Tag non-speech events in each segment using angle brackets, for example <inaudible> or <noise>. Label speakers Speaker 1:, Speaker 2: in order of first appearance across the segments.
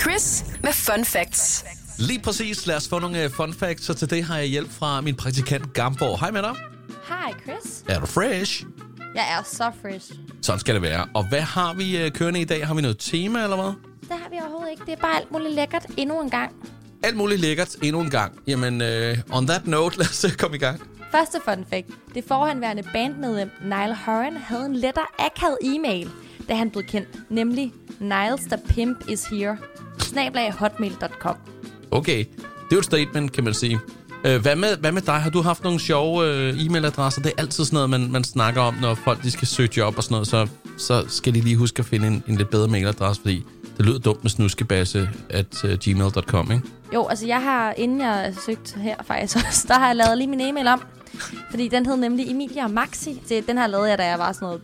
Speaker 1: Chris med Fun Facts.
Speaker 2: Lige præcis. Lad os få nogle øh, fun facts, og til det har jeg hjælp fra min praktikant Gamborg. Hej med dig.
Speaker 3: Hej, Chris.
Speaker 2: Er du fresh?
Speaker 3: Jeg er så fresh.
Speaker 2: Sådan skal det være. Og hvad har vi øh, kørende i dag? Har vi noget tema eller hvad?
Speaker 3: Det har vi overhovedet ikke. Det er bare alt muligt lækkert endnu en gang.
Speaker 2: Alt muligt lækkert endnu en gang. Jamen, øh, on that note, <laughs> lad os øh, komme i gang.
Speaker 3: Første fun fact. Det forhenværende bandmedlem Nile Horan havde en lettere akavet e-mail, da han blev kendt. Nemlig, Niles the pimp is here. Snablag hotmail.com.
Speaker 2: Okay, det er jo et statement, kan man sige. Øh, hvad, med, hvad med dig? Har du haft nogle sjove øh, e-mailadresser? Det er altid sådan noget, man, man snakker om, når folk de skal søge job og sådan noget, så, så skal de lige huske at finde en, en lidt bedre mailadresse, fordi det lyder dumt med snuskebasse at uh, gmail.com, ikke?
Speaker 3: Jo, altså jeg har, inden jeg søgte her faktisk <laughs> også, der har jeg lavet lige min e-mail om. Fordi den hed nemlig Emilia og Maxi. Det, den her lavede jeg, da jeg var sådan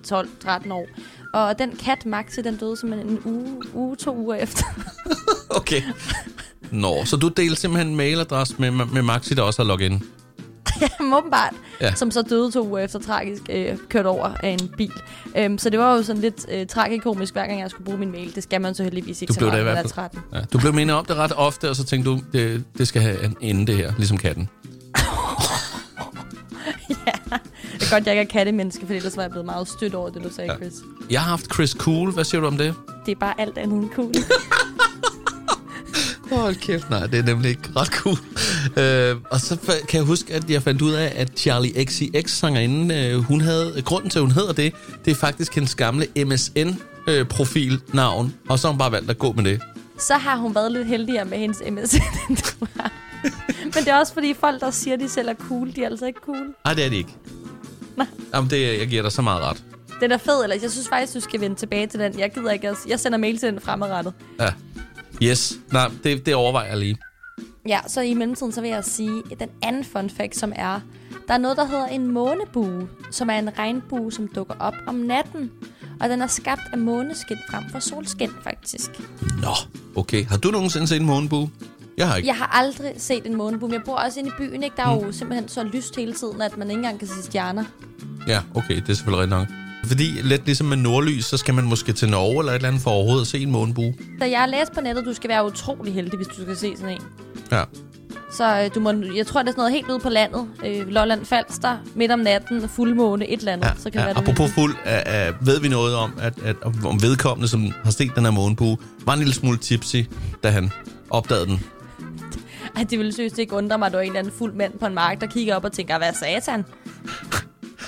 Speaker 3: noget 12-13 år. Og den kat Maxi, den døde simpelthen en uge, uge to uger efter.
Speaker 2: <laughs> Okay. Nå, så du delte simpelthen en mailadresse med, med Maxi, der også har logget ind.
Speaker 3: Jamen, åbenbart.
Speaker 2: Ja.
Speaker 3: Ja. Som så døde to uger efter tragisk øh, kørt over af en bil. Øhm, så det var jo sådan lidt øh, tragikomisk, hver gang jeg skulle bruge min mail. Det skal man så heldigvis ikke
Speaker 2: Du
Speaker 3: så
Speaker 2: blev
Speaker 3: meget,
Speaker 2: da i
Speaker 3: når
Speaker 2: hvert
Speaker 3: man er
Speaker 2: fald...
Speaker 3: 13.
Speaker 2: Ja, du blev mindet om det ret ofte, og så tænkte du, det, det skal have en ende, det her, ligesom katten.
Speaker 3: Det er godt, jeg ikke er kattemenneske, for ellers var jeg blevet meget stødt over det, du sagde,
Speaker 2: Ja.
Speaker 3: ja. Chris.
Speaker 2: Jeg har haft Chris Cool. Hvad siger du om det?
Speaker 3: Det er bare alt andet end cool.
Speaker 2: Hold kæft, nej, det er nemlig ikke ret cool. Øh, og så fa- kan jeg huske, at jeg fandt ud af, at Charlie XCX sangerinden, øh, hun havde, grunden til, at hun hedder det, det er faktisk hendes gamle MSN-profil-navn, øh, og så har hun bare valgt at gå med det.
Speaker 3: så har hun været lidt heldigere med hendes MSN, end du har. Men det er også fordi folk, der siger, de selv er cool, de er altså ikke cool.
Speaker 2: Nej, det er det ikke.
Speaker 3: Nej.
Speaker 2: Jamen, det, jeg giver dig så meget ret.
Speaker 3: Den er fed, eller jeg synes faktisk, du skal vende tilbage til den. Jeg gider ikke, jeg- jeg sender mail til den fremadrettet.
Speaker 2: Ja. Yes, nej, det, det overvejer jeg lige.
Speaker 3: Ja, så i mellemtiden, så vil jeg sige den anden fun fact, som er, der er noget, der hedder en månebue, som er en regnbue, som dukker op om natten. Og den er skabt af måneskin frem for solskin, faktisk.
Speaker 2: Nå, okay. Har du nogensinde set en månebue? Jeg har ikke.
Speaker 3: Jeg har aldrig set en månebue, men jeg bor også inde i byen, ikke? Der er
Speaker 2: Mm.
Speaker 3: jo simpelthen så lyst hele tiden, at man ikke engang kan se stjerner.
Speaker 2: Ja, okay, det er selvfølgelig rigtigt nok. Fordi lidt ligesom med nordlys, så skal man måske til Norge eller et eller andet for overhovedet at se en månebue.
Speaker 3: Da jeg læste på nettet, du skal være utrolig heldig, hvis du skal se sådan en.
Speaker 2: Ja.
Speaker 3: Så øh, du må, jeg tror, det er sådan noget helt ude på landet. Øh, Lolland Falster, midt om natten, fuldmåne, et eller andet.
Speaker 2: ja.
Speaker 3: så kan det
Speaker 2: ja.
Speaker 3: være, du-
Speaker 2: Apropos fuld, uh, uh, ved vi noget om, at, at om vedkommende, som har set den her månebue, var en lille smule tipsy, da han opdagede den.
Speaker 3: Ej, det ville seriøst ikke undre mig, at du er en eller anden fuld mand på en mark, der kigger op og tænker, hvad er satan?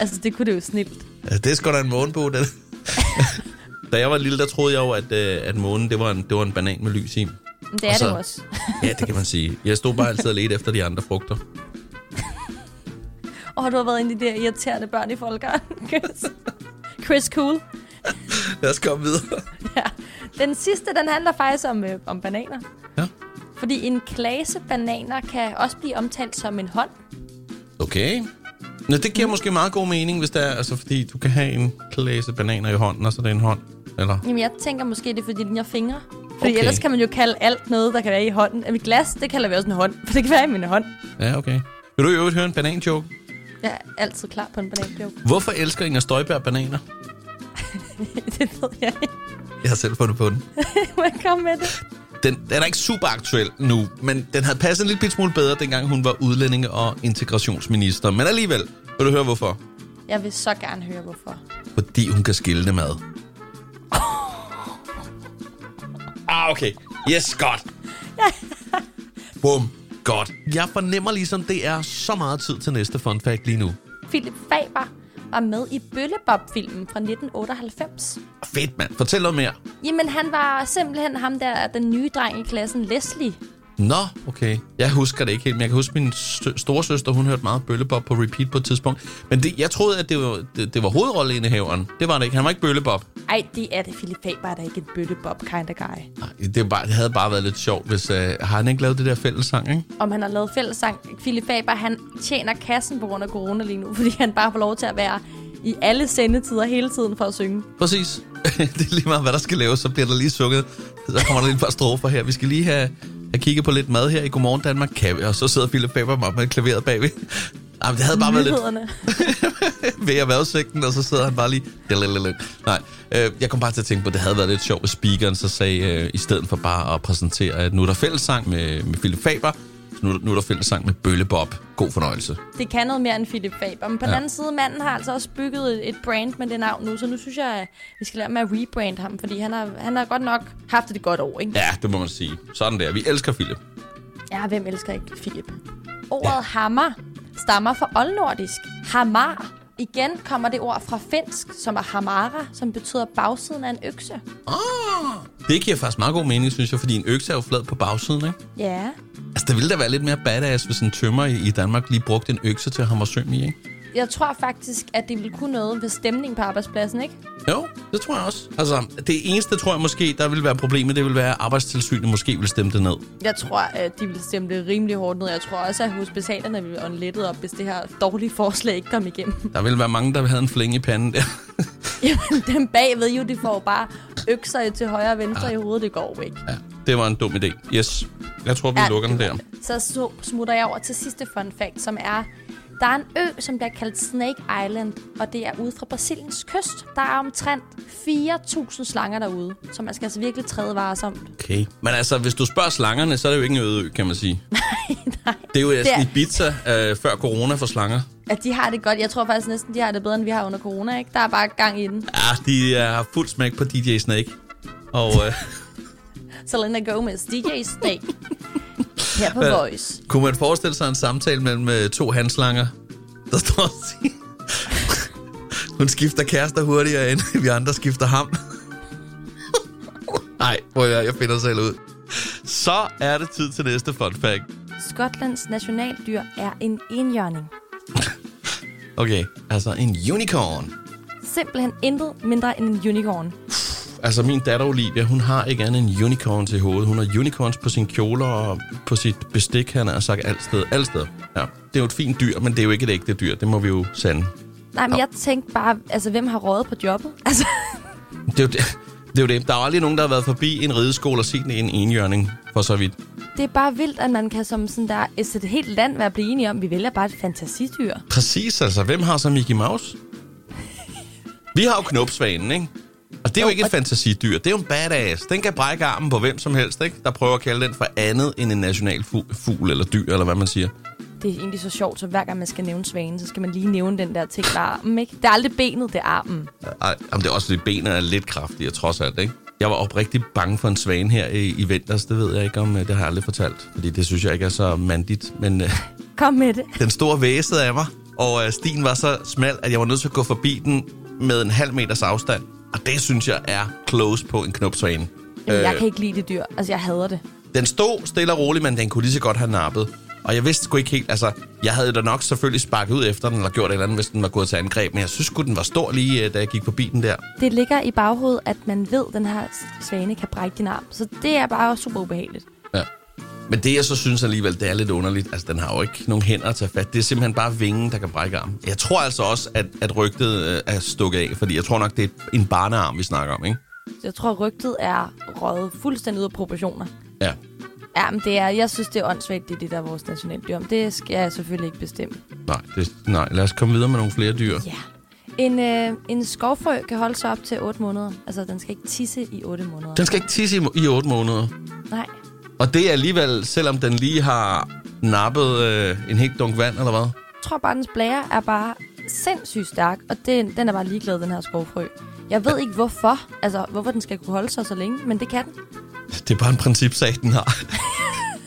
Speaker 3: altså, det kunne det jo snilt.
Speaker 2: Ja, det er sgu da en månebue, den. <laughs> da jeg var lille, der troede jeg jo, at, uh, at månen, det var, en, det var en banan med lys i.
Speaker 3: Men det er
Speaker 2: Og så-
Speaker 3: det jo også.
Speaker 2: Ja, det kan man sige. Jeg stod bare altid og ledte efter de andre frugter.
Speaker 3: Og du har været en af de der irriterende børn i folkeren, Chris. Chris Cool.
Speaker 2: Lad os komme videre.
Speaker 3: Ja. Den sidste, den handler faktisk om, øh, om bananer.
Speaker 2: Ja.
Speaker 3: Fordi en klase bananer kan også blive omtalt som en hånd.
Speaker 2: Okay. Nå, det giver måske meget god mening, hvis det er, altså, fordi du kan have en klasse bananer i hånden, og så er det en hånd. Eller?
Speaker 3: Jamen, jeg tænker måske, det er fordi, den har fingre. Fordi
Speaker 2: Okay.
Speaker 3: okay. ellers kan man jo kalde alt noget, der kan være i hånden. Er mit glas, det kalder vi også en hånd, for det kan være i min hånd.
Speaker 2: Ja, okay. Vil du i øvrigt høre en bananjoke?
Speaker 3: Jeg er altid klar på en bananjoke. <laughs>
Speaker 2: Hvorfor elsker Inger Støjberg bananer?
Speaker 3: det ved jeg ikke.
Speaker 2: Jeg har selv fundet på den.
Speaker 3: Må jeg komme med det?
Speaker 2: Den, den er ikke super aktuel nu, men den havde passet en lille bit smule bedre, dengang hun var udlændinge- og integrationsminister. Men alligevel, vil du høre hvorfor?
Speaker 3: Jeg vil så gerne høre, hvorfor.
Speaker 2: Fordi hun kan skille det mad. Ah, okay. Yes, godt. <laughs> Bum. Godt. Jeg fornemmer ligesom, det er så meget tid til næste fun fact lige nu.
Speaker 3: Philip Faber var med i Bøllebop-filmen fra 1998.
Speaker 2: Fedt, mand. Fortæl noget mere.
Speaker 3: Jamen, han var simpelthen ham der, den nye dreng i klassen, Leslie.
Speaker 2: Nå, okay. Jeg husker det ikke helt, men jeg kan huske, min st- storesøster, hun hørte meget Bøllebop på repeat på et tidspunkt. Men det, jeg troede, at det var, det, det var hovedrolleindehaveren. Det var det ikke. Han var ikke Bøllebop.
Speaker 3: Ej, det er det. Philip Faber er da ikke en bøllebop kind of guy.
Speaker 2: Nej, det, var bare, det havde bare været lidt sjovt, hvis... Øh, har han ikke lavet det der fællessang, ikke?
Speaker 3: Om han har lavet fællessang. Philip Faber, han tjener kassen på grund af corona lige nu, <laughs> fordi han bare får lov til at være i alle sendetider hele tiden for at synge.
Speaker 2: Præcis. <laughs> det er lige meget, hvad der skal laves, så bliver der lige sukket. Så kommer der lige et par strofer her. Vi skal lige have, have kigget på lidt mad her i Godmorgen Danmark. Kan vi? Og så sidder Philip Faber med, med klaveret bagved. <laughs> Ej, men det havde bare været lidt
Speaker 3: Nyhederne.
Speaker 2: <laughs> ved at vejrudsigten, og så sidder han bare lige... Lalalala. Nej, øh, jeg kom bare til at tænke på, at det havde været lidt sjovt, hvis speakeren så sagde, øh, i stedet for bare at præsentere, at nu er der fællessang med, med Philip Faber, så nu, nu er der fællessang med Bølle Bob. God fornøjelse.
Speaker 3: Det kan noget mere end Philip Faber. Men på ja.
Speaker 2: Ja.
Speaker 3: den anden side, manden har altså også bygget et- et brand med det navn nu, så nu synes jeg, at vi skal lade med at rebrand ham, fordi han har, han har godt nok haft det godt år, ikke?
Speaker 2: Ja, det må man sige. Sådan der. Vi elsker Philip.
Speaker 3: Ja, hvem elsker ikke Philip? Ordet ja. hammer stammer fra oldnordisk. Hamar. Igen kommer det ord fra finsk, som er hamara, som betyder bagsiden af en økse.
Speaker 2: Ah, det giver faktisk meget god mening, synes jeg, fordi en økse er jo flad på bagsiden, ikke?
Speaker 3: Ja,
Speaker 2: Altså, det ville da være lidt mere badass, hvis en tømmer i, i Danmark lige brugte en økse til at hamre søm i, ikke?
Speaker 3: jeg tror faktisk, at det ville kunne noget ved stemning på arbejdspladsen, ikke?
Speaker 2: Jo, det tror jeg også. Altså, det eneste, tror jeg måske, der ville være problemet, det ville være, at arbejdstilsynet måske ville stemme det ned.
Speaker 3: Jeg tror, at de ville stemme det rimelig hårdt ned. Jeg tror også, at hospitalerne ville ånde lettet op, hvis det her dårlige forslag ikke kom igennem. <laughs>
Speaker 2: Der ville være mange, der havde en flænge i panden der.
Speaker 3: Jamen, dem bagved jo, de får bare økser til højre og venstre i hovedet. Det går jo ikke.
Speaker 2: ja, det var en dum idé. Yes, jeg tror, vi ja, lukker den der.
Speaker 3: Så, så smutter jeg over til sidste fun fact, som er... Der er en ø, som bliver kaldt Snake Island, og det er ude fra Brasiliens kyst. Der er omtrent 4.000 slanger derude, så man skal altså virkelig træde varsomt. <laughs>
Speaker 2: Okay. Men altså, hvis du spørger slangerne, så er det jo ikke en øde ø, kan man sige.
Speaker 3: Nej,
Speaker 2: Det er jo
Speaker 3: <laughs> Det
Speaker 2: altså
Speaker 3: er-
Speaker 2: Ibiza øh, før corona for slanger.
Speaker 3: at de har det godt. Jeg tror faktisk næsten, de har det bedre, end vi har under corona, ikke? Der er bare gang i den.
Speaker 2: Ja, de øh, har fuld smæk på DJ Snake. Og... Øh,
Speaker 3: Selena Gomez, DJ Snake. Her på
Speaker 2: Hvad?
Speaker 3: Voice.
Speaker 2: Kunne man forestille sig en samtale mellem øh, to handslanger, der står og siger, hun skifter kærester hurtigere, end vi andre skifter ham? Nej, hvor jeg, jeg finder selv ud. Så er det tid til næste fun fact.
Speaker 3: Skotlands nationaldyr er en enhjørning.
Speaker 2: Okay, altså en unicorn.
Speaker 3: Simpelthen intet mindre end en unicorn.
Speaker 2: Altså min datter Olivia, hun har ikke andet end unicorns i hovedet. Hun har unicorns på sine kjoler og på sit bestik, han har sagt alt sted. Alt sted. Ja, det er jo et fint dyr, men det er jo ikke et ægte dyr. Det må vi jo sande.
Speaker 3: Nej, men jeg tænkte bare, altså, hvem har rådet på jobbet? <laughs> Altså,
Speaker 2: Det er, jo det, det er jo det. Der er aldrig nogen, der har været forbi en rideskole og set en enhjørning, for så vidt.
Speaker 3: det er bare vildt, at man kan som sådan der, altså, et helt land være blive enige om, vi vælger bare et fantasidyr.
Speaker 2: Præcis, altså. Hvem har så Mickey Mouse? Vi har jo knopsvanen, ikke? Og det er jo,
Speaker 3: Jo,
Speaker 2: ikke et
Speaker 3: og-
Speaker 2: fantasidyr. Det er jo en badass. Den kan brække armen på hvem som helst, ikke? Der prøver at kalde den for andet end en national fu- fugl eller dyr, eller hvad man siger.
Speaker 3: Det er egentlig så sjovt, så hver gang man skal nævne svanen, så skal man lige nævne den der ting, der er armen, ikke? Det er aldrig benet, det er armen.
Speaker 2: Ej, jamen, det er også, fordi benene er lidt kraftige, trods alt, ikke? Jeg var oprigtig bange for en svane her i, i vinters. Det ved jeg ikke, om øh, det har jeg aldrig fortalt. Fordi det synes jeg ikke er så mandigt. Men øh,
Speaker 3: Kom med det.
Speaker 2: den store væsede af mig, og øh, stien var så smal, at jeg var nødt til at gå forbi den med en halv meters afstand. Og det synes jeg er close på en knopsvane.
Speaker 3: Jamen, jeg kan ikke lide det dyr. Altså, jeg hader det.
Speaker 2: Den stod stille og roligt, men den kunne lige så godt have nappet. Og jeg vidste sgu ikke helt, altså, jeg havde da nok selvfølgelig sparket ud efter den, eller gjort et eller andet, hvis den var gået til angreb, men jeg synes sgu, den var stor lige, øh, da jeg gik forbi den der.
Speaker 3: Det ligger i baghovedet, at man ved, at den her svane kan brække din arm. Så det er bare super ubehageligt.
Speaker 2: Ja. Men det, jeg så synes alligevel, det er lidt underligt. Altså, den har jo ikke nogen hænder at tage fat. Det er simpelthen bare vingen, der kan brække armen. Jeg tror altså også, at, at rygtet øh, er stukket af, fordi jeg tror nok, det er en barnearm, vi snakker om, ikke?
Speaker 3: Så jeg tror, rygtet er røget fuldstændig ud af proportioner.
Speaker 2: Ja.
Speaker 3: Ja, men det er, jeg synes, det er åndssvagt, det er det, der er vores nationaldyr. Men det skal jeg selvfølgelig ikke bestemme.
Speaker 2: Nej, det, nej, lad os komme videre med nogle flere dyr.
Speaker 3: Ja. En, øh, en skovfrø kan holde sig op til 8 måneder. Altså, den skal ikke tisse i 8 måneder.
Speaker 2: Den skal ikke tisse i, i 8 måneder.
Speaker 3: Nej.
Speaker 2: Og det er alligevel, selvom den lige har nappet øh, en helt dunk vand, eller hvad?
Speaker 3: Jeg tror bare, dens blære er bare sindssygt stærk, og den, den er bare ligeglad, den her skovfrø. Jeg ved ikke, hvorfor. Altså, hvorfor den skal kunne holde sig så længe, men det kan den.
Speaker 2: Det er bare en principsag, den har.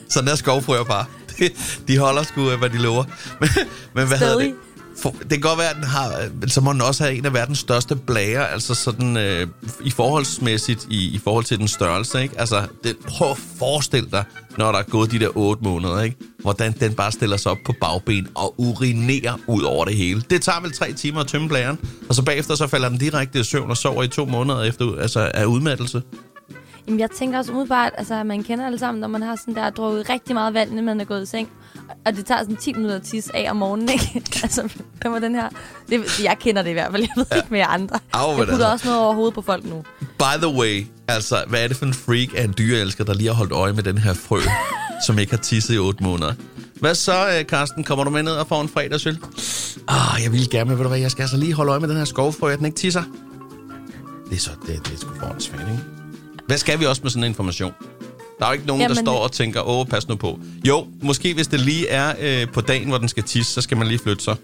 Speaker 2: Sådan er skovfrøer bare. De, de holder sgu, øh, hvad de lover. Men, men hvad hedder
Speaker 3: Stadig.
Speaker 2: det? For, det kan godt være, at den har, øh, men så må den også have en af verdens største blærer, altså sådan øh, i forholdsmæssigt, i, i forhold til den størrelse, ikke? Altså, det, prøv at forestille dig, når der er gået de der otte måneder, ikke? Hvordan den bare stiller sig op på bagben og urinerer ud over det hele. Det tager vel tre timer at tømme blæren, og så bagefter så falder den direkte i søvn og sover i to måneder efter, altså af udmattelse.
Speaker 3: Jamen, jeg tænker også umiddelbart, altså, man kender alle sammen, når man har sådan der drukket rigtig meget vand, inden man er gået i seng. Og det tager sådan 10 minutter at tisse af om morgenen, ikke? <laughs> altså, kommer den her... Det, jeg kender det i hvert fald, jeg ved ja. ikke med jer andre.
Speaker 2: Au,
Speaker 3: jeg
Speaker 2: men
Speaker 3: putter
Speaker 2: altså.
Speaker 3: også noget over hovedet på folk nu.
Speaker 2: By the way, altså, hvad er det for en freak af en dyreelsker, der lige har holdt øje med den her frø, som ikke har tisset i otte måneder? Hvad så, øh, Karsten? Kommer du med ned og får en fredagsøl? Ah, jeg vil gerne, men ved du hvad, jeg skal altså lige holde øje med den her skovfrø, at den ikke tisser. Det er så, det, det er sgu for svært, ikke? Hvad skal vi også med sådan en information? Der er jo ikke nogen, Jamen. der
Speaker 3: Jamen-
Speaker 2: står og tænker, åh, pas nu på. Jo, måske hvis det lige er øh, på dagen, hvor den skal tisse, så skal man lige flytte sig.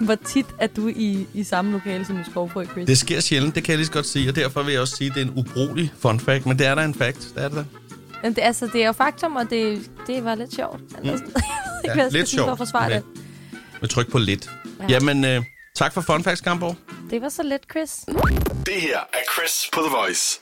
Speaker 3: Hvor tit er du i, i samme lokale som i Skovfrø, Chris?
Speaker 2: Det sker sjældent, det kan jeg lige så godt sige, og derfor vil jeg også sige, at det er en ubrugelig fun fact, men det er da en fact, det er det da.
Speaker 3: Jamen, det, altså, det er jo faktum, og det, det var lidt sjovt. Eller
Speaker 2: Mm.
Speaker 3: sådan. <laughs> Jeg ved ikke,
Speaker 2: Ja,
Speaker 3: hvad jeg
Speaker 2: lidt
Speaker 3: skal sige for
Speaker 2: sjovt,
Speaker 3: at forsvare
Speaker 2: men-
Speaker 3: det.
Speaker 2: Med tryk på lidt. Ja.
Speaker 3: Ja.
Speaker 2: Jamen, øh, tak for fun facts, Gamborg.
Speaker 3: Det var så lidt, Chris.
Speaker 4: Det her er Chris på The Voice.